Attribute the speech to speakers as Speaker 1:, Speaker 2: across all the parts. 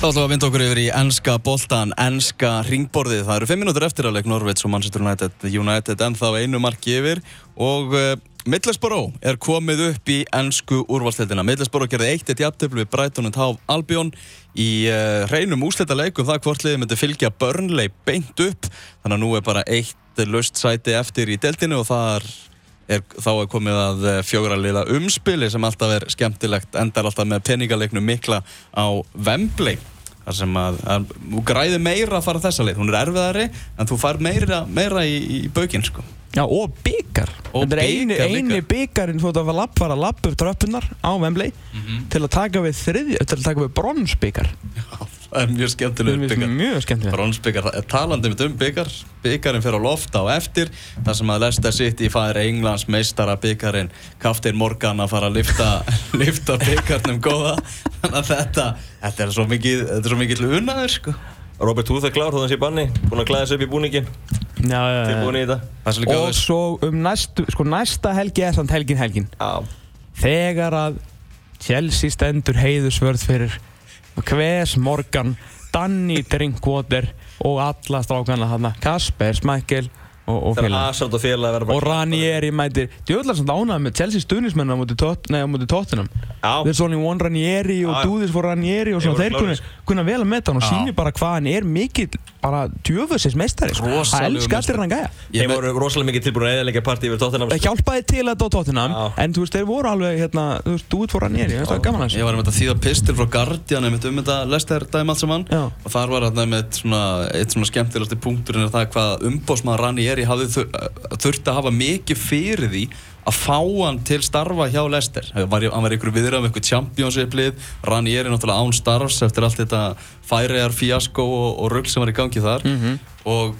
Speaker 1: Þá ætlum við að vinda okkur yfir í ennska boltan, ennska ringborðið. Það eru fimm mínútur eftir að leik Norvits og Manchester United, United en þá einu marki yfir og uh, Middlesbrough er komið upp í ennsku úrvalstildina. Middlesbrough gerði eitt eitt jafntöflu við Brighton and Hove Albion í uh, reynum úslita leikum það hvort liðið myndi fylgja Burnley beint upp. Þannig að nú er bara eitt löst sæti eftir í deltinu og þar er, þá er komið að fjógraliða umspili sem alltaf er skemmtilegt, endar alltaf með peningaleiknum mikla á Wembley þar sem að, að þú græði meira að fara þessa leið, hún er erfiðari en þú far meira, meira í, í baukinn sko.
Speaker 2: Já, og byggar.
Speaker 1: Og
Speaker 2: Þetta er eini,
Speaker 1: bikar líka.
Speaker 2: eini byggarinn þú ert að fara lapp, fara lapp upp tröppunar á Wembley
Speaker 1: Mhm.
Speaker 2: til að taka við þriðju, til að taka við bronsbyggar.
Speaker 1: það er mjög skemmtilegur
Speaker 2: Mjög-
Speaker 1: byggar
Speaker 2: Mjög skemmtilegt.
Speaker 1: bronsbyggar, talandi um byggar byggarinn fyrir á lofta og eftir þar sem að Leicester City færi Englands meistara byggarinn, Kaftir Morgan að fara að lifta, lifta byggarnum góða, þannig að þetta þetta er svo mikið, þetta er svo mikið unaður sko.
Speaker 3: Robert Húð er klár, hóðan sé banni, búinn að klæða sig upp í búningin,
Speaker 2: Já, já,
Speaker 3: tilbúin í þetta.
Speaker 1: Það er svolítið
Speaker 2: Eh, Og
Speaker 1: góður
Speaker 2: svo um næstu, sko næsta helgi er samt helgin helgin.
Speaker 3: Já.
Speaker 2: Þegar að Chelsea stendur heiðusvörð fyrir Kves Morgan, Danny Drinkwater og alla strákana þarna, Kasper, Smækkel og, og
Speaker 3: Það er
Speaker 2: félag.
Speaker 3: aðsand og félag að vera
Speaker 2: og Ranieri mætir djöðlar sem dánaði með Chelsea stuðnismenn á móti Tot- nei, á móti Tottenham
Speaker 3: Já,
Speaker 2: There's only one Ranieri og
Speaker 3: Já, já.
Speaker 2: do this for Ranieri og
Speaker 3: Þeir
Speaker 2: svona
Speaker 3: voru
Speaker 2: þeir kunna,
Speaker 3: glóruðir.
Speaker 2: kunna vel að meta hann og
Speaker 1: Já.
Speaker 2: sýnir bara hvað hann er mikill bara djöfusins meistari sko. það
Speaker 1: Rosalegur
Speaker 2: elskar
Speaker 1: meistari.
Speaker 2: allir hann gæja
Speaker 1: Ég
Speaker 3: þeim
Speaker 1: með-
Speaker 3: voru rosalega mikið tilbúin að eða leggja partí yfir sko. tóttina.
Speaker 2: það hjálpaði til að þetta á Tottenham
Speaker 3: Já.
Speaker 2: en þú veist þeir voru alveg hérna þú veist do it for Ranieri veist, það er gaman að
Speaker 1: Ég
Speaker 2: þessu
Speaker 1: var með þetta þýða pistil frá Guardian einmitt um þetta Lester dæmi allt saman
Speaker 2: Já.
Speaker 1: og þar var þetta með svona, eitt svona skemmtilegasti punkturinn er það hvað umbósmaður Rani Eri hafði þur, þurfti að hafa mikið fyrir því að fá hann til starfa hjá Lester var, í- hann var ykkur viðrað með ykkur championship-lið Rani Eri náttúrulega án starfs eftir allt þetta færiðar, fíasko og, og rugl sem var í gangi þar og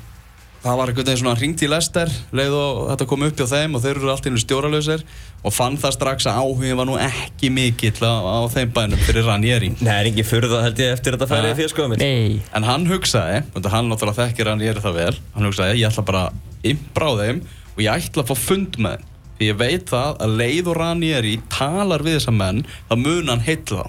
Speaker 1: það var einhvern veginn svona hringt í Lester leið og þetta kom upp hjá þeim og þeir eru allt í einu stjóralösir og fann það strax að áhugin var nú ekki mikill á, á þeim bænum fyrir Ranieri
Speaker 3: Nei, það er engin furða held ég eftir þetta færið sko,
Speaker 1: Nei.
Speaker 3: fyrir skoðum minn.
Speaker 2: Eh, nei
Speaker 1: en hann hugsaði, og þetta hann náttúrulega þekkir Ranieri það vel, hann hugsaði ég ætla bara að impra á þeim og ég ætla að fá fund með þeim því ég veit það að leið og Ranieri talar við þessa menn, það mun hann heitla þá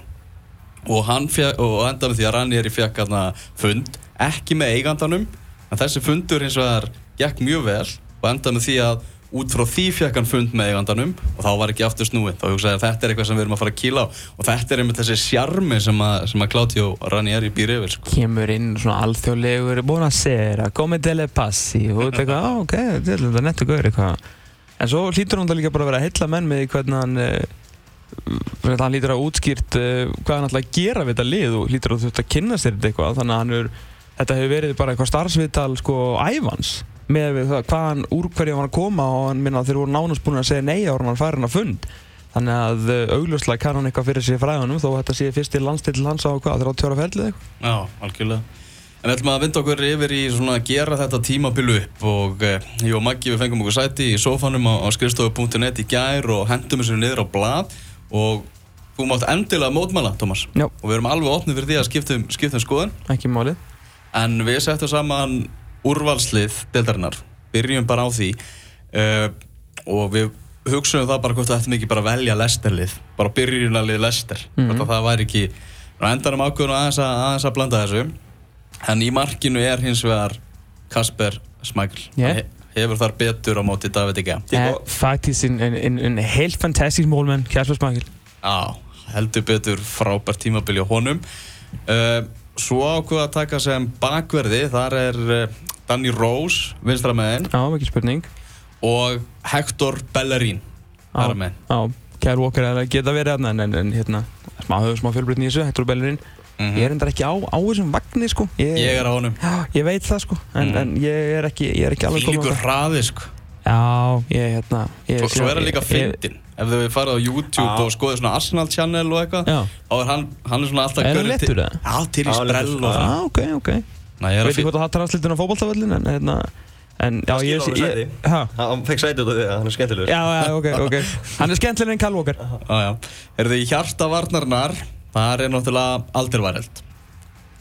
Speaker 1: og hann fjag, og enda með því að Ranieri fekk hérna fund ekki með eigandanum en þessi fundur hins vegar gekk mjög vel og enda með því að út frá því fekk hann fund með eigandanum og þá var ekki aftur snúið þá hugsaði ég að þetta er eitthvað sem við erum að fara að kýla á og þetta er einmitt þessi sjarmi sem að, sem að Klátjó Ranieri býr yfir sko.
Speaker 2: kemur inn svona alþjóðlegur búin að segja, komið til passi og þetta eitthvað, "Á, ok, þetta er nettu gaur eitthvað en svo hlýtur hann það líka bara að vera að heilla menn með því hvernig hann eh, hvernig hann hlýtur að útskýrt eh, hvað hann ætla að gera við þetta lið og hlýtur að þú þurft að kynna sér þetta eitthvað þannig að hann er, þetta hefur verið bara eitthvað starfsvital sko ævans með við það hvað hann úr hverju hann var að koma og hann minna að þeir voru nánast búin að segja nei ára hann farin að fund þannig að eh, augljóslega kann hann eitthvað fyrir sig fræðanum þó þetta sé fyrst í landstill hans á hvað 30 ára ferlið eitthvað
Speaker 1: Já, algjörlega. En við ætlum að vinda okkur yfir í svona að gera þetta tímabil upp og eh, ég og Maggi við fengum okkur sæti í sofanum á, á skrifstofu.net í gær og hendum þessu niður á blad og þú mátt endilega mótmæla, Tómas.
Speaker 2: Já.
Speaker 1: Og við erum alveg opnið fyrir því að skiptum, skiptum um skoðun
Speaker 2: ekki málið
Speaker 1: en við settum saman úrvalslið deildarinnar. Byrjum bara á því uh, og við hugsunum það bara hvort það ættum ekki bara að velja lesterlið, bara byrjunarlið lester, mm hvort að það væri ekki og endanum ákveðinu aðeins að, aðeins að blanda þessu en í markinu er hins vegar Kasper Smækl
Speaker 2: Yeah.
Speaker 1: hefur þar betur á móti David Ega
Speaker 2: Eh, Faktisk en, en, en, en helt fantastisk målmann, Kasper Smakil
Speaker 1: Já, heldur betur frábært tímabili á honum uh, Svo ákveða að taka sem bakverði, þar er uh, Danny Rose, vinstra meðin
Speaker 2: Já, ekki spurning
Speaker 1: og Hector Bellerín
Speaker 2: Já,
Speaker 1: þar meðin
Speaker 2: já Kyle Walker er að geta verið hérna en, en, en hérna smá höfðu smá fjölbreytni í þessu, Hector Bellerin
Speaker 1: Mhm.
Speaker 2: Ég er endar ekki á, á þessum vagnir sko ég,
Speaker 1: Ég er á honum
Speaker 2: Já, ég veit það sko en,
Speaker 1: Mhm.
Speaker 2: en ég er ekki, ég er ekki alveg
Speaker 1: Líkur
Speaker 2: það
Speaker 1: hraði sko
Speaker 2: Já, ég hérna ég,
Speaker 1: Svo, svo er hann líka
Speaker 2: ég- ég-
Speaker 1: fyndin Ef þau farið á YouTube
Speaker 3: Já.
Speaker 1: og skoðið svona Arsenal Channel og eitthvað
Speaker 2: Já.
Speaker 1: þá er hann, hann er svona alltaf
Speaker 2: Er hann
Speaker 1: gaurinn
Speaker 2: léttur
Speaker 1: til-
Speaker 2: eða?
Speaker 1: Já, til í
Speaker 3: Já, léttur,
Speaker 1: sprell og
Speaker 3: já.
Speaker 1: það
Speaker 2: Já, Ah, ok, ok
Speaker 1: Næ, Ah. ég er
Speaker 2: Veit
Speaker 1: að
Speaker 2: ekki
Speaker 1: fyrir
Speaker 2: hvort það hattar aðslutun á fótboltavöllin en hérna En já,
Speaker 3: Það
Speaker 2: ég,
Speaker 3: skilur alveg
Speaker 2: ég,
Speaker 3: sæti.
Speaker 2: ha,
Speaker 3: Hann fekk sæti út af því að hann er skemmtilegur.
Speaker 2: já, já, ok, ok Hann er skemmtilegri en Kyle Walker
Speaker 1: Er þið í hjartavarnarnar þar er náttúrulega aldirværeld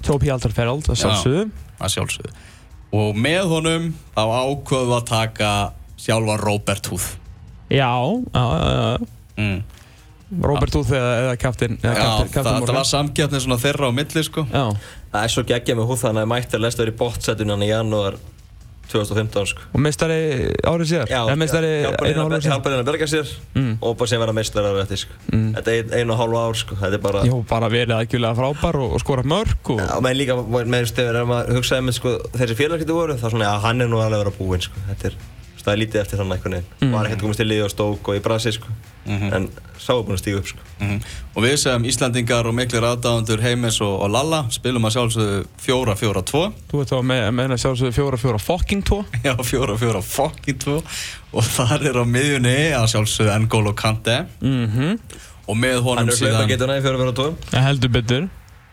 Speaker 2: Topi Altarferald, að sjálfsögðu
Speaker 1: að sjálfsögðu og með honum þá ákvöðu að taka sjálfa Robert Húð
Speaker 2: Já, já, já, já.
Speaker 1: mm.
Speaker 2: Robert Úþ eða, eða Captain,
Speaker 1: Já,
Speaker 2: eða Captain,
Speaker 1: það,
Speaker 2: Captain
Speaker 1: það
Speaker 2: Morgan
Speaker 1: var samgjarnir svona þeirra á milli sko
Speaker 2: Já,
Speaker 3: Það er svo geggja með húð þannig að mætti að lesta verið í bottsætunan í janúar 2015 sko.
Speaker 2: og mistari árið síðar
Speaker 3: Já,
Speaker 2: Eða mistari
Speaker 3: hjálpar
Speaker 2: einu
Speaker 3: henni
Speaker 2: hálfur Mm.
Speaker 3: að- hjálpar henni að berga sér og bara sem vera meistar árið eftir sko. Þetta er ein- einu og hálfu ár sko, þetta er bara
Speaker 2: Jó, bara verið aðgjulega frábær og, og skora mörg og
Speaker 3: Já, menn líka, menn stefur, ef maður hugsaði með sko, þessi félagskipti voru, þá svona, já, hann er nú alveg að vera búinn, sko, þetta er, þú veist, það er lítið eftir þannig einhvern veginn,
Speaker 2: Mhm.
Speaker 3: var ekkert komist til liði og stók og í brasi, sko, en sá er búinn að stíga upp, sko.
Speaker 1: Mhm. Og við sem Íslandingar og miklir aðdáðandur Heimis og, og Lalla spilum að sjálfsögðu 4-4-2
Speaker 2: þú ert þá með, með að sjálfsögðu fjóra fjóra fucking tvo
Speaker 1: Já, 4-4 fucking 2 og þar er á miðjunni að sjálfsögðu N'Golo Kante
Speaker 2: Mhm,
Speaker 1: og með
Speaker 3: Hann
Speaker 1: honum
Speaker 3: er hlaupa
Speaker 1: síðan
Speaker 3: getur hann í fjóra fjóra tvo,
Speaker 2: heldur betur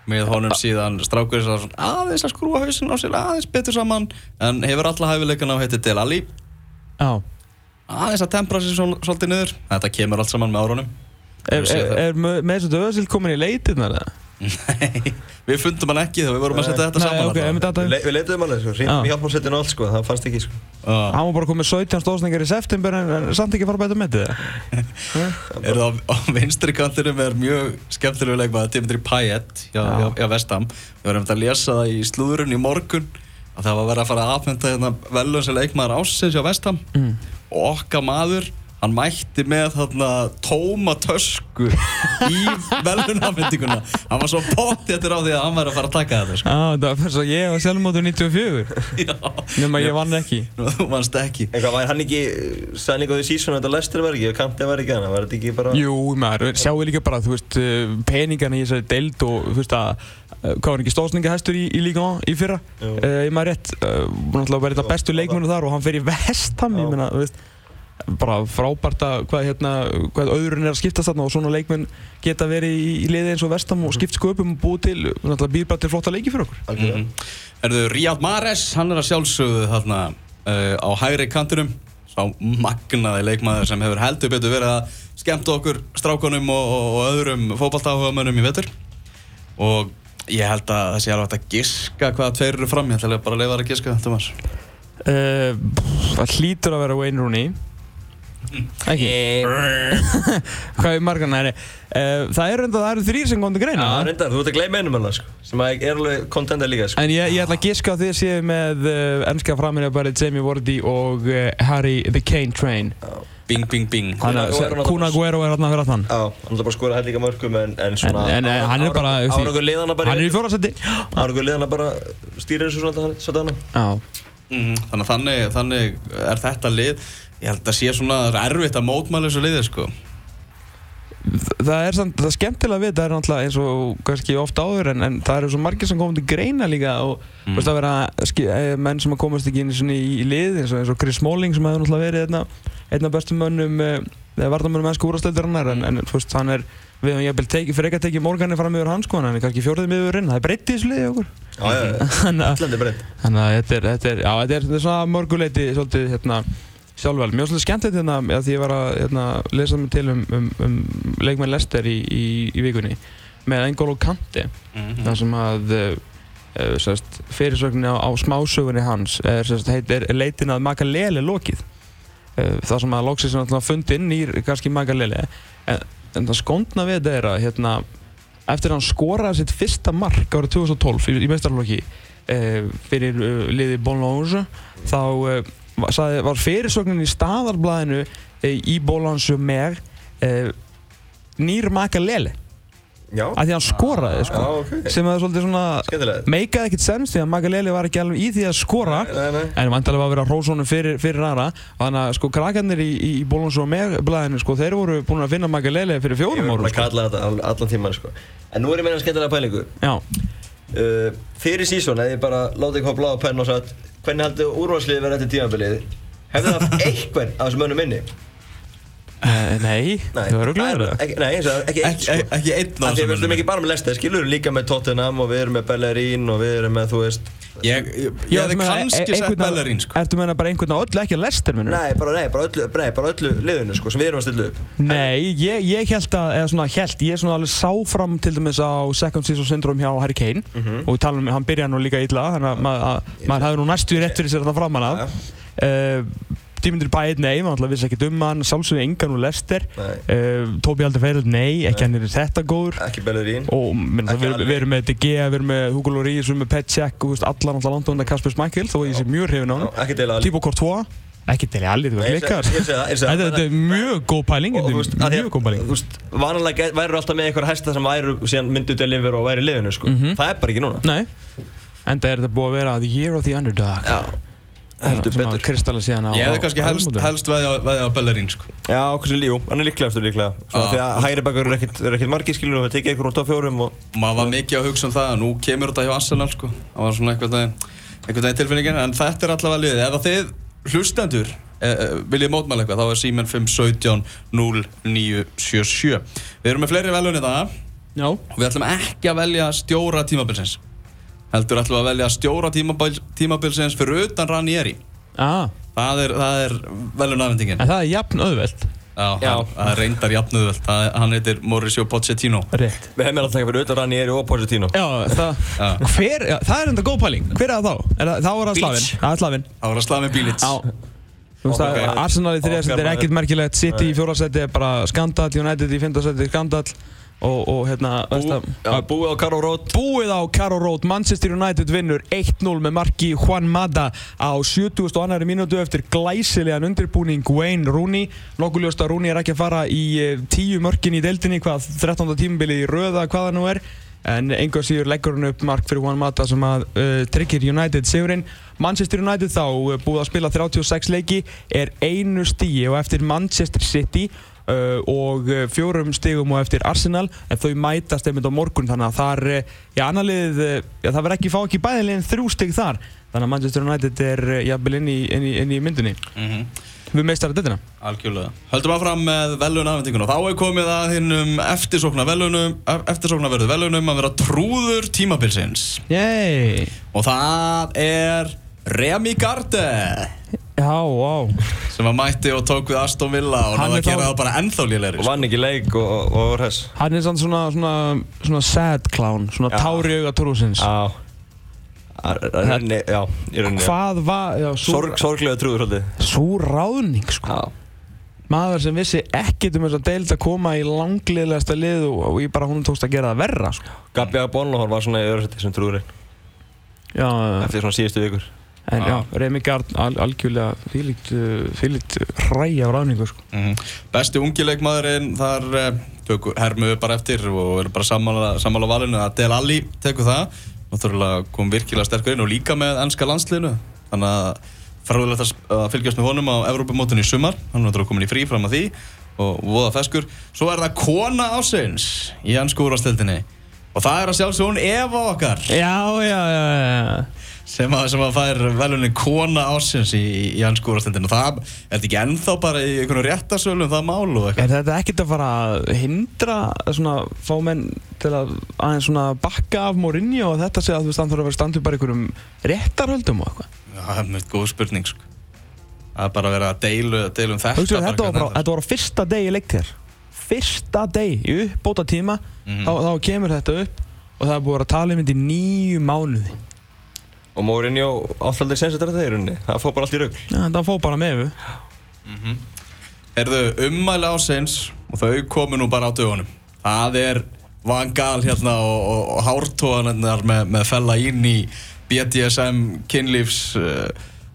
Speaker 1: með honum síðan strákur sem var svona aðeins að skrúa hausinn á sér aðeins betur saman en hefur alla hæfileikana og heitir Del Alli
Speaker 2: Já,
Speaker 1: aðeins að tempra sér svol- svolítið niður þetta kemur allt saman með árunum
Speaker 2: er,
Speaker 1: Hefur séð
Speaker 2: er,
Speaker 1: það.
Speaker 2: er með þessu döðasild komin í leitirnar eða?
Speaker 1: Nei, við fundum hann ekki þegar við vorum að setja þetta
Speaker 2: Nei,
Speaker 1: saman
Speaker 2: ok, einmitt
Speaker 1: allavega.
Speaker 2: þetta
Speaker 3: við, le við leituðum alveg, sko,
Speaker 2: Já.
Speaker 3: rýndum í hjálpmálsettinu og allt, sko, það fannst ekki, sko.
Speaker 1: Já.
Speaker 2: Hann var bara komið 17 stóðsningar í september en, en samt ekki fara betur metið það
Speaker 1: eru það á, á vinstri kantinum er mjög skemmtilegu leikmaður Dimitri Payet hjá,
Speaker 2: Já.
Speaker 1: hjá, hjá Vestam við vorum að lesa það í slúðurinn í morgun að það var verið að fara að afhenda hérna velun sem leikmaður ásins hjá Vestam
Speaker 2: Mm.
Speaker 1: og okkar maður hann mætti með þarna tóma tösku í velunafendinguna hann var svo pottið eftir á því að hann var að fara að taka þetta sko.
Speaker 2: Já, það var svo ég var sjálfmótur 94
Speaker 1: Já,
Speaker 2: Nefn ég vann ekki
Speaker 1: þú mannst ekki
Speaker 3: Eitthvað, var hann ekki, sagði hann eitthvað í sísónu, þetta lestir var ekki, og kantið var ekki hann, var þetta ekki bara...
Speaker 2: Jú, maður, sjáu líka bara, þú veist, eh, peningana í þessari deild og, þú veist, að eh, hvað var ekki stóðsningahestur í, í líka í fyrra
Speaker 3: Jú.
Speaker 2: uh, ég maður rétt, uh, náttúrulega verið þetta bestu leikmennu þar og hann fer í vestam, ég
Speaker 3: Já.
Speaker 2: meina, þú veist bara frábært að hvað hérna hvað öðrun er að skiptast þarna og svona leikmenn geta verið í, í liði eins og vestam
Speaker 3: Mm.
Speaker 2: og skipt sköpum og búið til, náttúrulega býr bara til flotta leiki fyrir okkur
Speaker 3: Algjörlega.
Speaker 1: Mhm. Erðu Ríad Mares, hann er að sjálfsögðu þarna uh, á hægri kantinum Sá magnaði leikmaður sem hefur heldur betur verið að skemmta okkur strákonum og, og, og öðrum fótballtáhugamönnum í vetur Og ég held að það sé alveg hægt að giska hvaða tveir eru fram, ég ætla bara að leifa þér að giska, Thomas
Speaker 2: uh, Það hlýtur að vera Wayne Rooney Ekki?
Speaker 3: Eh,
Speaker 2: Hvað er margan það er? það eru enda, það eru þrýr sem kom til greina
Speaker 3: Já, reyndar, þú ert að gleyma einum alveg, sko, sem að er alveg contender líka, sko.
Speaker 2: En ég, ég ætla að giska á því að séu með uh, ennska framinni bara Jamie Vardy og uh, Harry the Kane Train
Speaker 1: Bing, bing, bing
Speaker 2: Þannig
Speaker 3: Kun Aguero
Speaker 2: að Kun Aguero er hérna að vera þann
Speaker 3: Já, hann er bara að skora hellinga mörgum en, en
Speaker 2: En,
Speaker 3: svona
Speaker 2: en eh, hann er bara því-
Speaker 3: Árangur leiðana bara
Speaker 2: Hann er í fjórasætti
Speaker 3: Árangur leiðana hérna bara stýrir þessu svona Svona hann
Speaker 2: Já
Speaker 1: Mhm, Þannig að þannig, þannig er þetta lið Ég held að sé svona það er erfitt að mótmæla þessu liði, sko
Speaker 2: Það er samt, það er skemmtilega við, það er náttúrulega eins og kannski oft áður en, en það eru svo margir sem komum til greina líka og þú veist að vera ski, eh, menn sem að komast ekki inn svona í, í lið eins og, eins og Chris Smalling sem hefur náttúrulega verið einna, einna bestu mönnum eh, eða vartamönnum ennsku úrasteldarinnar en, en þú veist hann er, við hefum jafnvel tekið, frekar tekið Morgani fram yfir hans sko en hann er kannski fjórðið miðurinn, það er breytið í þessu liði hjá okkur
Speaker 3: Já, já, já
Speaker 2: Þannig að-
Speaker 3: Íslandi er breynd
Speaker 2: þannig að þetta er, þetta er, já, þetta er, þetta er svona mörguleiti svolítið hérna sjálfvel. Mér var svolítið skemmt þetta hérna að því ég var að hérna, lesa mig til um, um, um leikmenn Lester í, í, í vikunni með Engolo Kanti
Speaker 1: Mhm.
Speaker 2: þar sem að uh, uh, sérst, fyrirsögnin á, á smásögunni hans er, sérst, heit, er leitin að Makalele lokið uh, þar sem að loksins er náttúrulega fundinn í kannski Makalele en, en það skondna við þetta er að hérna, eftir að hann skoraði sitt fyrsta mark árið 2012 í, í meistarlokki uh, fyrir uh, liði Bólóns þá uh, var- sagði, var fyrirsögnin í staðarblæðinu uh, í Bólóns með uh, nýr Makalele
Speaker 3: Já,
Speaker 2: að því að hann skoraði sko
Speaker 3: já, ok
Speaker 2: sem að svolítið svona
Speaker 3: Skemmtilega
Speaker 2: meikaði ekkert sens því að Magaleli var ekki alveg í því að skora
Speaker 3: Nei, nei
Speaker 2: en vantarlega var að vera rósónum fyrir, fyrir aðra þannig að sko krakkarnir í, í, í Bólons og megblæðinu sko þeir voru búin að finna Magaleli fyrir
Speaker 3: Ég
Speaker 2: fjórum
Speaker 3: var
Speaker 2: árum
Speaker 3: bara að
Speaker 2: sko.
Speaker 3: kalla þetta all- allan tíman, sko En nú er ég meina skemmtilega pælingu
Speaker 2: Já,
Speaker 3: uh, Fyrir sísón, ef ég bara láti eitthvað bláða penn og sagt Hvernig heldur úrvalsliðið verið eftir tímabilið? Hefði það haft einhvern af þessum mönnum inni?
Speaker 2: Eh, nei,
Speaker 3: Nei,
Speaker 2: þau eru
Speaker 3: það
Speaker 2: glæður
Speaker 3: er- ekki- Nei, eins og það- ekki einn,
Speaker 1: Ekki,
Speaker 3: sko
Speaker 1: ekki einn af
Speaker 3: Af
Speaker 1: þessum
Speaker 3: því við erum
Speaker 1: mönnum.
Speaker 3: ekki bara með Leicester, skilur við líka með Tottenham og við erum með Bellerín og við erum með, þú veist
Speaker 1: Ég, ég, ég hefði
Speaker 2: e-
Speaker 1: kannski sett Bellerín, sko
Speaker 2: Ertu meina bara einhvern að öllu ekki að lestir minn?
Speaker 3: Nei, bara, nei, bara, öllu, nei, bara öllu liðinu, sko, sem við erum að stilla upp
Speaker 2: Nei, ég, ég held að, eða svona held, ég svona alveg sá fram til dæmis á second season syndrome hjá Harry Kane
Speaker 3: Mhm.
Speaker 2: og við talum um, hann byrjaði nú líka illa, þannig að ma- að maður hafði nú næstu rétt fyrir sér þarna framan af. Uh, Dímundur Bæðið, nei, maður alltaf vissi ekkert um hann, sjálfsögðu engan úr Lester,
Speaker 3: Nei.
Speaker 2: uh, Tóbi Aldur Feyrald, nei, ekki hann er þetta góður
Speaker 3: Ekki Bellerín.
Speaker 2: og minna,
Speaker 3: Ekki
Speaker 2: við,
Speaker 3: alveg.
Speaker 2: við erum með DG, við erum með Hugo Lloris, við erum með Petschek, og, þú veist, allan alltaf langt á undan Kasper Smækil, þó að ég sé mjög hrifin á
Speaker 3: Já,
Speaker 2: hann,
Speaker 3: Ekki Dele Alli.
Speaker 2: Tíbo Courtois, ekki Deli Alli, þú
Speaker 3: Nei,
Speaker 2: veist,
Speaker 3: ég seg-
Speaker 2: klikkar.
Speaker 3: ég seg það, ég seg það.
Speaker 2: Þetta þetta er mjög góð pæling,
Speaker 3: Og þú veist,
Speaker 2: þetta
Speaker 3: að
Speaker 2: er
Speaker 3: því
Speaker 2: mjög
Speaker 3: að-
Speaker 2: góð pæling.
Speaker 3: Þú veist, vanalega get- værirðu alltaf með einhverja hesta sem væru, síðan myndu deliver og væri í liðinu, sko.
Speaker 2: Mhm.
Speaker 3: Það er bara ekki núna.
Speaker 2: Nei, enda er þetta búið að vera the year of the underdog.
Speaker 3: Já, heldur
Speaker 2: sem að
Speaker 3: betur.
Speaker 2: kristalla síðan á
Speaker 1: Ég hefði
Speaker 2: á-
Speaker 1: kannski
Speaker 2: á
Speaker 1: helst,
Speaker 2: móti.
Speaker 1: helst veðja veðja á Bellerín sko.
Speaker 3: Já, okkur sem líjú, hann er líklegastur líklega. Svo
Speaker 1: Já.
Speaker 3: því að hægri bakur er ekkert, er ekkert margir skilur og við tekið einhverjum úr top fjórum og...
Speaker 1: Maður var mikið að hugsa um það að nú kemur þetta hjá Arsenal sko. Það var svona einhvern veginn, einhvern veginn tilfinningin En þetta er allavega liðið Ef að þið hlustendur e, e, viljið mótmæla eitthvað þá er símen 517 0977 Við erum með fleiri velunni það
Speaker 2: Já,
Speaker 1: og við ætlum ekki að velja stjóra tímabilsins heldur ætlum við að velja stjóra tímabil, tímabilsins fyrir utan Ranieri
Speaker 2: ah,
Speaker 1: það er, það er velunarvendingin
Speaker 2: en það er jafn auðvelt
Speaker 1: já,
Speaker 3: Já.
Speaker 1: hann- það er reyndar jafnöðvöld það, er- hann heitir Mauricio Pochettino
Speaker 2: Rétt
Speaker 3: Við hefum alltaf taka fyrir utan Ranieri og Pochettino.
Speaker 2: Já, það,
Speaker 1: Já.
Speaker 2: hver, já, það er enda góð pæling Hver er það þá? Er það, þá er það slavin
Speaker 3: Beach.
Speaker 2: Það er slavin
Speaker 1: það var að slá með bílits
Speaker 2: Já Þú veist að
Speaker 3: Okkar maður.
Speaker 2: Arsenal í þriða seti er
Speaker 3: Okkar
Speaker 2: ekkert
Speaker 3: maður.
Speaker 2: merkilegt City í fjóra seti er bara skandal United í fymta seti er skandal Og, og hérna veist að-
Speaker 3: Já, búið á Karol Rót.
Speaker 2: Búið á Karol Road, Manchester United vinnur 1-0 með marki Juan Mata á 70 og annari mínútu eftir glæsilegan undirbúning Wayne Rooney. Nokkuljóst að Rooney er ekki að fara í eh, tíu mörkin í deildinni, hvað 13. tímabilið í röða hvað það nú er. En enga síður leggur hann upp mark fyrir Juan Mata sem að uh, tryggir United sigurinn. Manchester United þá eh, búið að spila 36 leiki, er einu stíi og eftir Manchester City uh, og uh, fjórum stigum og eftir Arsenal en þau mætast einmitt á morgun þannig að þar, uh, já annar liðið uh, já, það verður ekki fá ekki bæðilegin þrjú stig þar þannig að Manchester United er uh, jafnvel inn í, inn í, inn í myndinni
Speaker 1: mm
Speaker 2: við meistar að dittina
Speaker 1: Algjörlega. Höldum áfram með velunafendinguna. Þá er komið að hinnum eftirsóknar velunum, eftirsóknarverðu velunum að vera trúður tímabilsins.
Speaker 2: Yey.
Speaker 1: Og það er Remy Garde
Speaker 2: Já, vá
Speaker 1: sem að mætti og tók við Aston Villa og
Speaker 2: Hann
Speaker 1: náða
Speaker 2: er
Speaker 1: að gera
Speaker 2: þá-
Speaker 1: það bara ennþá lélæri.
Speaker 3: Og vann ekki leik og, og, og var hess.
Speaker 2: Hann er samt svona, svona, svona sad clown svona
Speaker 3: Já.
Speaker 2: tári auga trúsins
Speaker 3: Já. Ar- ar- Rani- Já, í rauninni. já.
Speaker 2: Hvað var, já, svo,
Speaker 3: Sorg, sorglega trúður svolítið.
Speaker 2: svo ráðning sko
Speaker 3: Já.
Speaker 2: Maður sem vissi ekkert um þess að deild að koma í langliðlegasta lið og, og ég bara hún tókst að gera það verra sko.
Speaker 3: Gabi Abonlohor var svona í öðursætti sem trúðurinn
Speaker 2: Já, já, já.
Speaker 3: eftir svona síðustu vikur.
Speaker 2: En
Speaker 1: Já.
Speaker 2: já, Remi Gard al, algjörlega fylgt, uh, fylgt hræja á ráningu sko.
Speaker 1: Mm. Besti ungileikmaðurinn þar eh, tökur hermuðu bara eftir og eru bara sammála, sammála valinu að Del Alli tekur það Náttúrulega kom virkilega sterkur inn og líka með ennska landsliðinu Þannig að fráðilegt að s- að fylgjast með honum á Evrópumótinu í sumar Hann er náttúrulega komin í frí fram að því og voða feskur Svo er það kona ásins í ennsku úrvastildinni Og það er að sjálfsög hún Eva okkar
Speaker 2: Já, já, já, já.
Speaker 1: sem að, sem að fær velunin kona ásins í, í ennsku úrvastildinu Það er þetta ekki ennþá bara í einhvern réttasölu um það mál og eitthvað
Speaker 2: Er þetta ekkert að fara að hindra svona fá menn til að aðeins svona bakka af Mourinho og þetta segja að þú veist hann þarf að vera standið bara í einhverjum réttarhöldum og eitthvað
Speaker 1: Já, það er mjög góð spurning sko. Það er bara að vera að deilu, deilu um þetta
Speaker 2: Hugstu,
Speaker 1: bara
Speaker 2: þetta, var bara,
Speaker 1: hvernig
Speaker 2: þetta var á fyrsta deg í leiktir Fyrsta deg í uppbóta tíma
Speaker 1: Mhm.
Speaker 2: þá, þá kemur þetta upp og það er búið að vera að tala um þetta í nýju mánuði
Speaker 3: Og Mourinho átti aldrei sens að þetta í rauninni. Það fór bara allt í raugl.
Speaker 2: Já, þetta fóð bara með við
Speaker 1: Herðu, ummæli ásins og þau komu nú bara á dögunum Það er vangal hérna og, og, og hártóðanarnar með, með fella inn í BDSM, kynlífs uh,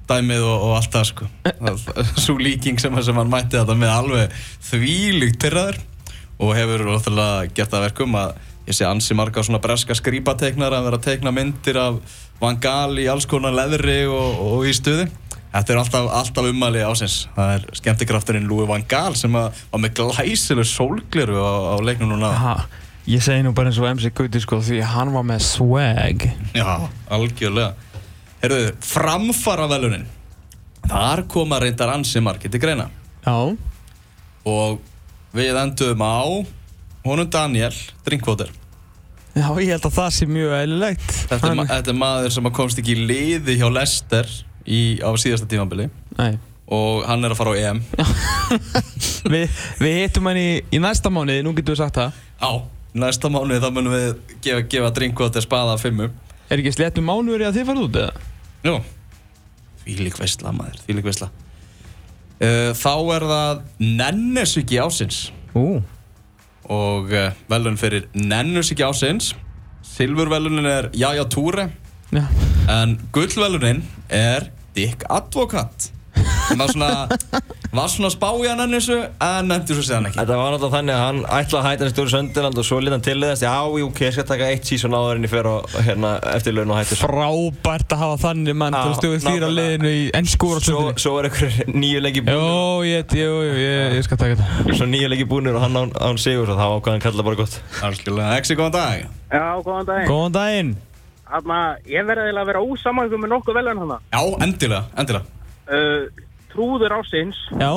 Speaker 1: dæmið og, og allt það sko Svo líking sem, sem hann mætti þetta með alveg þvílugt pyrraður og hefur náttúrulega gert það að verkum að ég sé ansi marga svona breska skrýpateiknar að vera að teikna myndir af vangal í alls konar leðri og, og í stuði Þetta er alltaf, alltaf ummæli ásins. Það er skemmtikrafturinn Lúi Van Gaal sem að, var með glæsileg sólgleru á, á leiknum núna.
Speaker 2: Ha, ég segi nú bara eins og MC Gauti sko því hann var með swag
Speaker 1: Já, algjörlega. Herðu, framfara velunin. Þar koma reyndar ansi margir til greina.
Speaker 2: Já
Speaker 1: Og við enduðum á honum Daniel Drinkwater.
Speaker 2: Já, ég held að það sé mjög eðlilegt
Speaker 1: Þetta er, ma þetta er maður sem að komst ekki í liði hjá Lester í, á síðasta tímambili.
Speaker 2: Nei
Speaker 1: Og hann er að fara á EM.
Speaker 2: Vi, Við hittum hann í, í næsta mánuði, nú getum við sagt það
Speaker 1: Á, næsta mánuði þá munum við gefa, gefa Drinkwater spaða að fimmum.
Speaker 2: Er ekki sléttum mánuður í að þið farið út eða?
Speaker 1: Jú Því lík veistla maður, því lík veistla Uh, þá er það Nennesuki ásins
Speaker 2: Ú,
Speaker 1: og uh, velun fyrir Nennesuki ásins Silfurvelunin er Jaja Túre
Speaker 2: já,
Speaker 1: en gullvelunin er Dick Advokat sem var svona, var svona spá í hann Nennesu en nefndi svo séðan ekki
Speaker 3: Þetta var náttúrulega þannig að hann ætlaði að hætta hann stjórn Sönderland og svo lítið hann til þess Já, jú, ok, ég skal taka eitt sísón áður en ég fer og hérna eftir laun og hættu svo
Speaker 2: frábært að hafa þannig mann
Speaker 3: Já,
Speaker 2: til að stjóðu þýra
Speaker 3: nákvæmlega.
Speaker 2: liðinu í ennsku
Speaker 3: Svo,
Speaker 2: úrvalsdeildinni.
Speaker 3: svo er einhver nýju leiki búinn
Speaker 2: Jó, ég, jú, jú, ég, ég skal taka þetta.
Speaker 3: Svo nýju leiki búinir og hann án, án sigur svo þá ákvað hann kalla bara gott
Speaker 1: Algjörlega, Exi, góðan dag
Speaker 4: Já, góðan daginn.
Speaker 2: Góðan daginn.
Speaker 4: Þarna, ég verði eiginlega að vera ósamangum með nokkuð velun hana.
Speaker 1: Já, endilega, endilega
Speaker 4: Uh, trúður ásins,
Speaker 2: Já,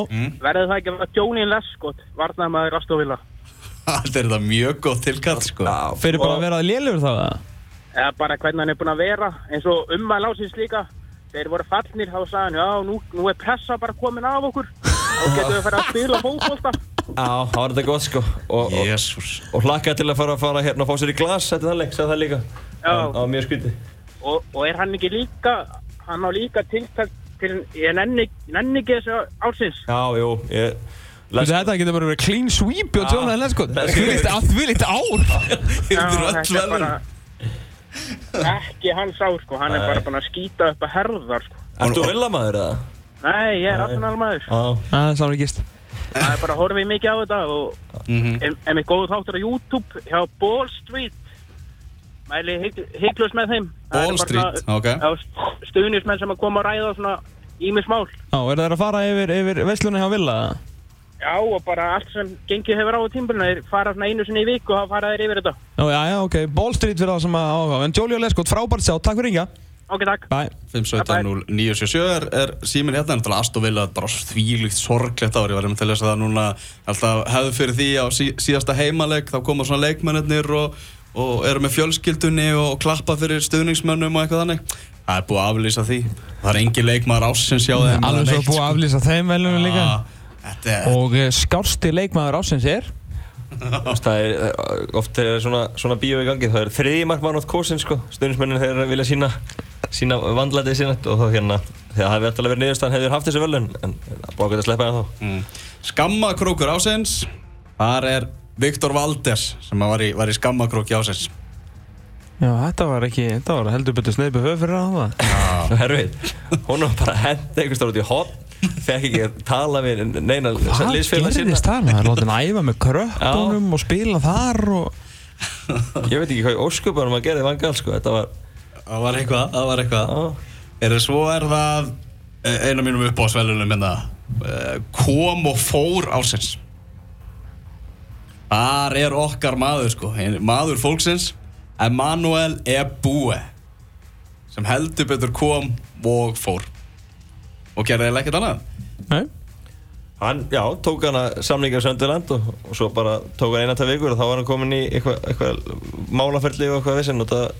Speaker 4: verði það ekki að vera Jónín Leskot, varnamæður Astovilla.
Speaker 1: Þetta er það mjög gott tilkall sko
Speaker 2: fyrir bara að vera lélugur þá eða?
Speaker 4: Eða bara hvernig hann er búin að vera, eins og ummæl ásins líka. Þeir voru fallnir, þá sagði hann, já, nú, nú er pressa bara komin af okkur. Þá getum við að fara að spila fókbólta.
Speaker 3: Já, þá var þetta gott sko og, og,
Speaker 1: Jésús
Speaker 3: og hlakkaði til að fara, fara hérna og fá sér í glas Þetta er þannig, sagði það líka
Speaker 4: Já.
Speaker 3: Það var mjög skrítið
Speaker 4: Og, og er hann ekki líka, hann á líka tiltækt til, ég nenni, nenni ekki þessu ásins.
Speaker 3: Já, jú, ég
Speaker 2: Þú
Speaker 3: les,
Speaker 2: veist, þetta getur bara verið clean sweep og hérna, sko. tjónaði lenskot. Þvílitt á, þvílitt ár.
Speaker 1: Þetta er öll
Speaker 4: þetta er
Speaker 1: velun
Speaker 4: bara ekki hans ár sko, hann er bara búin að skýta upp að herðar sko.
Speaker 3: Ertu villamaður eða?
Speaker 4: Nei, ég er aftunalmaður.
Speaker 3: Já
Speaker 2: Það er samlíkist.
Speaker 4: Það er bara að horfa í mikið á þetta og
Speaker 1: Mhm.
Speaker 4: em- em ég góðu þáttur á YouTube hjá Ball Street. Mæli hygglust með þeim. Það eru
Speaker 1: Ball
Speaker 4: bara
Speaker 1: Street,
Speaker 4: svona-
Speaker 1: ok.
Speaker 4: Já, st- stuðningsmenn sem að koma að ræða svona ímismál.
Speaker 2: Já, er það að fara yfir, yfir veslunni hjá Villa? eða?
Speaker 4: Já, og bara allt sem gengið hefur á tímbilinu, þeir fara svona einu sinni í viku og þá fara þeir yfir þetta.
Speaker 2: Já, já, já, ok. Ball Street fyrir það sem að áhuga. En Jólio Leskot, frábært sjá. Takk fyrir ringa.
Speaker 4: Ok, takk.
Speaker 2: Bye.
Speaker 1: 517-0977 er, er síminn hérna, náttúrulega Astovilla bara þvílugt sorglegt ári, ég var um til þess að það núna alltaf hefðu fyrir því á sí, síðasta heimaleg, þá koma svona leikmennir og, og eru með fjölskyldunni og, og klappa fyrir stuðningsmönnum og eitthvað þannig það er búið að aflýsa því það er engin leikmaður ásins hjá þeim Ah,
Speaker 2: Alveg svo Ah. búið að aflýsa þeim velunum líka.
Speaker 1: Þetta er,
Speaker 2: Og eh, skársti leikmaður ásins er?
Speaker 3: Það er eh, oft þegar það er svona, svona bíó í gangi, það er þriði markmann átt kosin sko, stundismennin þeir vilja sína, sína vandlætið sína og þá hérna, þegar það hefði alltaf verið niðurstaðan hefði þeir haft þessi völun, en það er búið ágætt að sleppa hérna þá.
Speaker 1: mm, skammakrókur ásins þar er Viktor Valdes sem að var í, var í skammakróki ásins
Speaker 2: Já, þetta var ekki, þetta var heldur betur sneipi höf fyrir það það.
Speaker 3: Svo herfið, hún var bara hent einhvers stór út í hot, fekk ekki að tala við neina
Speaker 2: Hvað
Speaker 3: liðsfélag sína.
Speaker 2: gerðist það? Það er látið að æfa með krökkunum og spila þar og...
Speaker 3: Ég veit ekki hvað í ósköpunum að gerði vangal sko, þetta var,
Speaker 1: það var eitthvað, það var eitthvað
Speaker 3: á,
Speaker 1: Er það svo er það eh, einu af mínum uppáðsvelunum hérna eh, kom og fór ásins Þar er okkar maður sko ein- maður fólksins Emanuel Ebue sem heldur betur kom og fór og gerði eða ekkert annað
Speaker 2: Nei?
Speaker 3: hann, já, tók hana samlingar Sönderland og, og svo bara tók hann eina til vikur og þá var hann komin í eitthvað eitthva, málaferli og eitthvað vissinn og það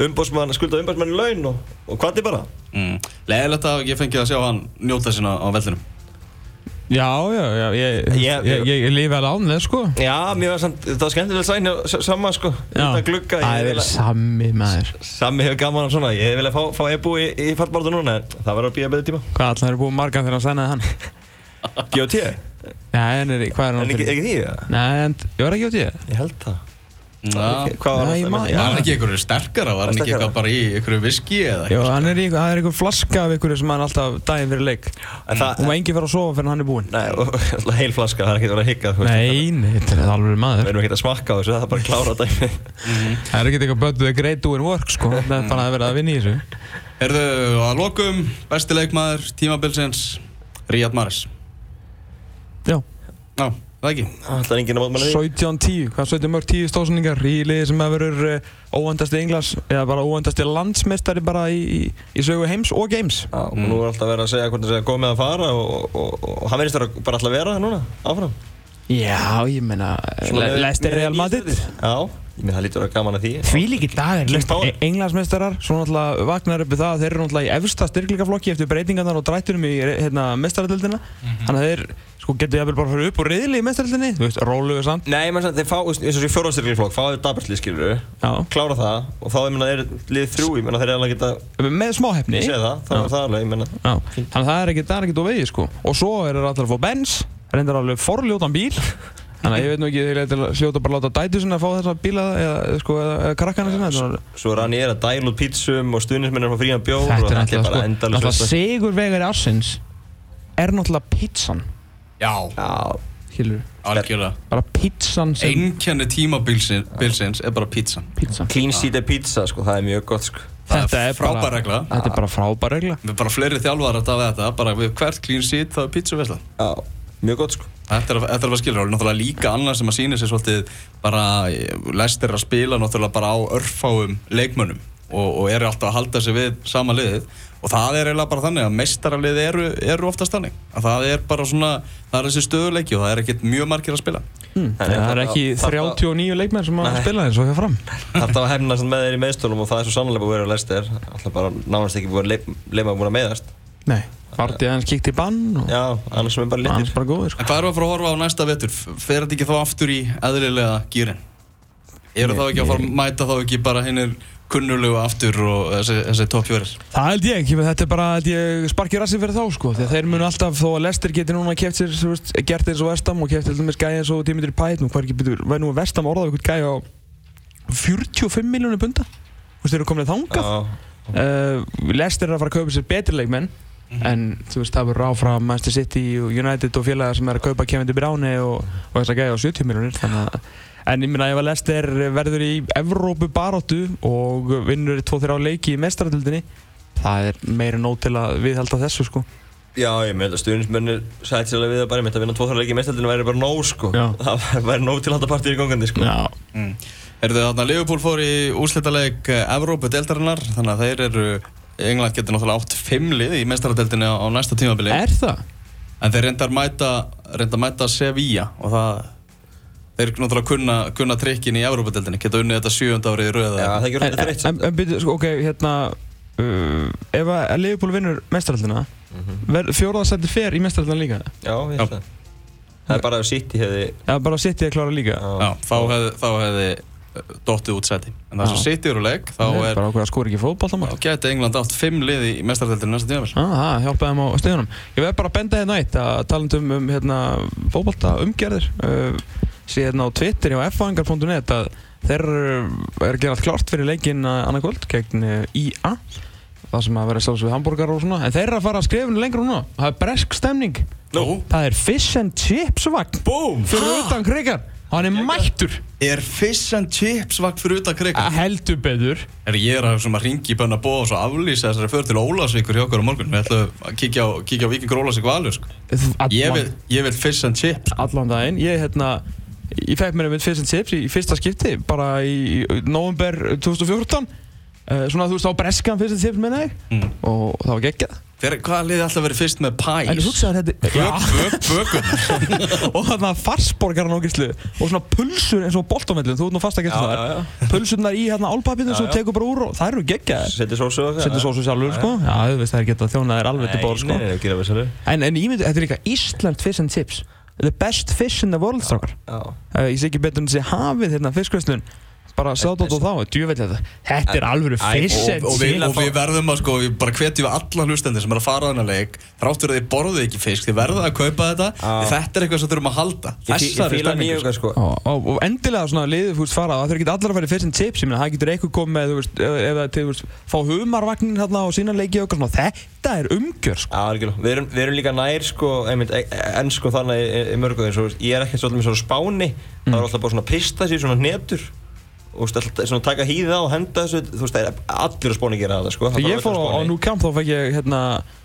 Speaker 3: umbósmann, skulda umbósmann laun og, og hvað þið bara?
Speaker 1: mm. Leðilegt að ég fengi að sjá hann njóta sína á vellinum
Speaker 2: Já, já, já, ég,
Speaker 3: Ég-
Speaker 2: ég, ég, ég lifi alveg án þeir sko.
Speaker 3: Já, mér var samt, það var skemmtilega sæn hjá s- Samma sko, utan glugga
Speaker 2: Það
Speaker 3: ég
Speaker 2: er
Speaker 3: vil
Speaker 2: vel
Speaker 3: að-
Speaker 2: sami maður.
Speaker 3: Sammi hefur gaman af svona, ég vilja fá, fá ebu í, í fallbártu núna en það verður að býja betri tíma
Speaker 2: Hvað allar er búið margan þegar hann sænaði hann?
Speaker 3: GOT,
Speaker 2: Já, en er, hvað er hann
Speaker 3: en ekki,
Speaker 2: fyrir?
Speaker 3: ekki því eða?
Speaker 2: Nei, en ég var ekki á tíu.
Speaker 3: Ég held það
Speaker 1: Já,
Speaker 3: Hvað var
Speaker 2: Nei,
Speaker 3: það?
Speaker 2: ég man-
Speaker 1: Var
Speaker 2: já.
Speaker 1: hann ekki einhverju sterkara? Var hann ekki
Speaker 3: Sterkara.
Speaker 1: eitthvað bara í einhverju viski eða
Speaker 2: Já,
Speaker 1: eitthvað?
Speaker 2: hann er í, það er einhver flaska af einhverju sem hann alltaf daginn fyrir leik
Speaker 3: En það-
Speaker 2: og maður engi fyrir að sofa fyrir hann er búinn
Speaker 3: Nei, og alltaf heil flaska, það er ekkert verið að hikka
Speaker 2: Nei, nei, þetta er alveg
Speaker 3: Við
Speaker 2: maður
Speaker 3: erum ekkert að smakka á þessu, það er bara að klára dæmi
Speaker 2: Það er ekkert eitthvað but the great doing work sko Það er bara að vera að vinna í þessu
Speaker 1: Herðu, að lokum, besti leikmaður tímabilsins, Ríad Maris
Speaker 2: Já,
Speaker 1: Já, það ekki
Speaker 3: Það er enginn að mótmæla því
Speaker 2: 17-10, hvað 17 mörg 10 stóðsendingar í liði sem að verður uh, óvendasti englas eða bara óvendasti landsmeistari bara í, í, í sögu heims og games
Speaker 3: Já, og
Speaker 2: Mm.
Speaker 3: nú er alltaf verið að segja hvernig það er komið að fara og, og, og, og hann verðist vera bara alltaf að vera það núna, áfram
Speaker 2: Já, ég meina,
Speaker 3: Svona-
Speaker 2: lestir Real Madrid
Speaker 3: Já, ég minn það lítur að vera gaman að því
Speaker 2: Því líki dagir
Speaker 3: King Power.
Speaker 2: E- Englandsmeistarar, svo náttúrulega vagnar uppi það að
Speaker 3: Mhm.
Speaker 2: Þeir eru náttúrulega í efsta styrkleikaflokki eftir breytingarnar og drættunum í hérna, mestaradöldina Þannig að þeir, sko, sko, getur jafnvel bara að fara upp og riðli í mestraröldinni, þú veist, rólu við samt
Speaker 3: Nei, menn samt, þeir fá, þú veist, eins og þessi fjórastyrkingflokk, fá þeir daberslið, skilur
Speaker 2: Já.
Speaker 3: Klára það, og þá, ég menna, er lið þrjú, ég menna, þeir er alveg geta
Speaker 2: með smá hefni
Speaker 3: séð það, þá er það alveg, ég menna
Speaker 2: Já, þannig að það er ekkert, það er ekkert á vegi sko Og svo er það allir að fá bens Reyndar alveg forljótan bíl Þannig að ég veit nú ekki, þeir ætla- hljóta bara að láta dætu sinna að fá þessa bíla eða, eða, sko, eða, eða krakkana sinna Þetta er-
Speaker 3: Svo rann ég er að dæla út pítsum og stuðnismennir fá frían bjór og
Speaker 2: Þetta er náttúrulega
Speaker 3: bara
Speaker 2: sko,
Speaker 3: endalaust
Speaker 2: náttúrulega
Speaker 3: veisla.
Speaker 2: sigur vegari ársins Er náttúrulega pizzan,
Speaker 1: Já,
Speaker 3: Já,
Speaker 2: skilur
Speaker 1: algjörlega.
Speaker 2: Bara pizzan sem
Speaker 1: Einkenni tímabilsins er bara pizzan.
Speaker 2: pizzan
Speaker 3: clean sheet er pizza, sko, það er mjög gott, sko
Speaker 1: Það
Speaker 2: Þetta er bara-
Speaker 1: frábær regla.
Speaker 2: Þetta er bara frábær regla
Speaker 1: Við bara fleiri þjálfarar að tafa þetta, bara við hvert clean sheet þá er pizzaversla.
Speaker 3: Já, mjög gott, sko
Speaker 1: Þetta er að- þetta er að vera skilur, og náttúrulega líka annað sem að sína sér svolítið bara lestir að spila náttúrulega bara á örfáum leikmönnum og, og eru alltaf að halda sig við sama liðið og það er eiginlega bara þannig að meistaralið eru, eru oftast þannig að það er bara svona, það er þessi stöðuleiki og það er ekkert mjög margir að spila
Speaker 2: Það
Speaker 3: Þannig
Speaker 2: er
Speaker 3: að þarna-
Speaker 2: ekki
Speaker 3: þarna-
Speaker 2: 39 leikmenn sem að
Speaker 3: Nei.
Speaker 2: spila eins og hjá fram
Speaker 3: Þetta var hefna sem með þeir í meðstólum og það er svo sannlega búið að vera að lesta þér Alltaf bara nánast ekki búið að leif, leima búin að meiðast
Speaker 2: Nei, Vardí aðeins kíkt í bann og
Speaker 3: Já, annars sem er bara
Speaker 2: annars
Speaker 3: litir
Speaker 2: bara góður sko
Speaker 1: En hvað erum við að fara að horfa á næsta vetur? Fer þetta ekki þá aftur í eðlilega gýrin? Eru þá ekki að fara að mæta þá ekki bara hinnir kunnulegu aftur og þessi, þessi toppjórir?
Speaker 2: Það held ég ekki, menn þetta er bara held ég sparkið rassi fyrir þá sko því að þeir munu alltaf, þó að Lester geti núna keft sér, þú veist, gert eins og Vestam og keft eins og gæja eins og Dimitri Pæt nú hvað er ekki betur, væri nú Vestam orðað eitthvað gæja á 45 miljónu punda þú veist, þeir eru komin þangað
Speaker 3: Já,
Speaker 2: uh, Lester er að fara að kaupa sér betri leikmenn en þú veist, það verður áfram Manchester City og United og félaga sem er að kaupa Kevin De Bruyne og, og þess að gæja á 70 miljónir þannig að En ég minna ef að Lester verður í Evrópu baróttu og vinnur 2-3 leiki í mestaratildinni það er meira nóg til að viðhalda þessu sko
Speaker 3: Já, ég meint að stuðnismennir sætt sér alveg við það bara, ég meint að vinna tvo þar leiki í meðstaldinu væri bara nóg, sko
Speaker 2: Já.
Speaker 3: Það væri nóg til að halda partíð í gangandi, sko
Speaker 2: Já,
Speaker 1: Mm. Er þau þarna Liverpool fór í úrslitaleik eh, Evrópu deildarinnar þannig að þeir eru England getur náttúrulega átt fimm lið í mestaradeldinni á á næsta tímabili
Speaker 2: er það?
Speaker 1: en þeir reyndar mæta, reyndar mæta Sevilla og það þeir náttúrulega kunna, kunna trikkin í Evrópu deildinni geta unnið þetta sjöfunda árið í röða
Speaker 3: Já, það ekki
Speaker 2: En,
Speaker 3: verið
Speaker 2: en,
Speaker 3: þreytt
Speaker 2: en, en byrju, sko, ok, hérna uh, ef að ef Liverpool vinnur mestaraldina fjóraðarsætti fer í mestaraldina líka
Speaker 3: Já, ég
Speaker 1: Já.
Speaker 3: veist það Það er bara að sitt í hefði
Speaker 2: eða bara sitt ég að klára líka
Speaker 1: Já, þá hefði, þá hefði eh, dottið út seti en það
Speaker 2: Já.
Speaker 1: sem sittir úr leik þá
Speaker 2: það er
Speaker 1: er
Speaker 2: bara okkur að skora ekki fótballtamál
Speaker 1: þá geti England átt fimm lið í mestaradeldinni næsta tímabili
Speaker 2: Ah, það hjálpaði þeim á stöðunum Ég verð bara að benda hérna eitt að talandum um hérna, fótbolta umgerðir uh, sé hérna á Twitter hjá fhangar.net að þeir eru er að gera allt klárt fyrir leikinn annað kvöld gegn uh, IA það sem að vera sjálfs við hambúrgar og svona en þeir eru að fara að skrifinu lengra núna það er bresk stemning
Speaker 1: Nú,
Speaker 2: það er fish and chips vagn
Speaker 1: búm!
Speaker 2: fyrir utan krigar hann er mættur
Speaker 1: Er fish and chips vakt fyrir utan krikka?
Speaker 2: að heldur betur
Speaker 1: Er ég er að svona ringi í bönna bóð og svo aflýsa þessari för til Ólasvíkur hjá okkur á morgun. Við ætlum að kíkja á, kíkja á Víkingur Ólasvík valur, sko. Ég vil, ég vil fish and chips.
Speaker 2: allan daginn ég hérna ég fekk mér einmitt fyrst en tips í, í fyrsta skipti bara í, í november 2014 uh, svona þú veist á breskan fyrst en tips minna ég
Speaker 1: Mm.
Speaker 2: og það var geggjað
Speaker 1: Hver, hvaða liði alltaf verið fyrst með pæs?
Speaker 2: en þú hugsaði þetta já,
Speaker 1: Bökunar.
Speaker 2: og þarna farsborgaran ágæslu og svona pulsur eins og boltamellin þú ert nú fast að gæsta
Speaker 3: Já, já,
Speaker 2: það pulsurnar í hérna álpapinu sem þú
Speaker 3: Já, já.
Speaker 2: tekur bara úr og það eru geggjaðar
Speaker 3: Settir sósu og það
Speaker 2: setur sósu sjálfur sko já þú veist það er gett að þjóna þér alveg til bór
Speaker 3: Nei,
Speaker 2: sko
Speaker 3: nei, nei, gera við sjálfur
Speaker 2: en, en ímyndu þetta er líka Ísland fish and chips the best fish in the world strákar
Speaker 3: Já
Speaker 2: uh, ég sé ekki betur en þessi hafið hérna fiskvöslun bara sjátt át og þá, djúvel þetta þetta er alvöru fish
Speaker 1: og,
Speaker 2: and
Speaker 1: og, við, og
Speaker 2: chips
Speaker 1: við verðum að sko, við bara hvetjum við alla hlustendir sem er að fara þarna leik þráttur að þið borðið ekki fisk, þið verða að kaupa þetta
Speaker 3: Já.
Speaker 1: þetta er eitthvað sem þurfum að halda
Speaker 3: Ah. Ég fí- ég
Speaker 1: Þessari
Speaker 3: fíla
Speaker 1: stemningu,
Speaker 3: nýjunga, sko
Speaker 2: og, og, og endilega svona liðið fúst fara það þurfi ekki allar að fara í fish and chips ég meina það getur eitthvað komið með þú veist, eh, ef ef það er til þú veist, fá humarvagnin hérna og sína leikið okkar svona þetta er umgjör sko.
Speaker 3: Já, algjörlega. Við erum, við erum líka nær sko, einmitt, en sko þannig í, í mörgu eins og þú veist, ég er ekkert svolítið með svona á spáni,
Speaker 2: Mm.
Speaker 3: það er alltaf bara svona pista sér, svona hnetur og þú veist, alltaf svona taka hýða og henda þessu, þú veist, það er allir á spáni gera það, sko.
Speaker 2: þegar ég fór á, á New Camp þá fekk ég hérna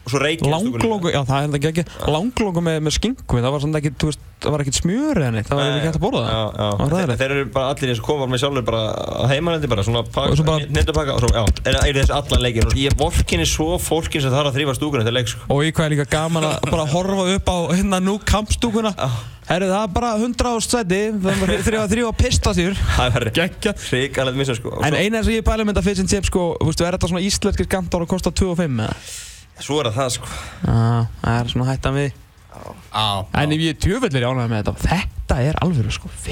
Speaker 3: og svo reykja
Speaker 2: langlóku já það er þetta ekki langlóku með, með skingu það var svona ekki þú veist það var ekkert smjör eða neitt það var ekki hægt að borða
Speaker 3: Já,
Speaker 2: það
Speaker 3: já.
Speaker 2: það var
Speaker 3: Þeir,
Speaker 2: ræðilegt
Speaker 3: þeir eru bara allir eins og koma með sjálfur bara að heimalandi bara svona
Speaker 2: Og
Speaker 3: pakka,
Speaker 2: svo bara-
Speaker 3: netupakka og svo, já, er, er þessi allan leikin og ég vorkinni svo fólkin sem þarf að þrýfa stúkunni til leik, sko.
Speaker 2: og í hvað er líka gaman að bara horfa upp á hérna nú kampstúkuna herru það er bara 100 ástæti þrjá að þrjá að pista sér
Speaker 3: Það er
Speaker 2: Gekkja.
Speaker 3: ríkalegt missa, sko. Og
Speaker 2: en
Speaker 3: svo-
Speaker 2: eina sem ég pæli með þetta fyrst sem sé sko þú veist, er þetta svona íslenskir skantar og kostar 2,5 eða?
Speaker 3: Svo er það það, sko.
Speaker 2: Já, það er svona hættan við
Speaker 1: Á,
Speaker 2: En ef ég er djöfullir ánægð með þetta, þetta er alveg sko,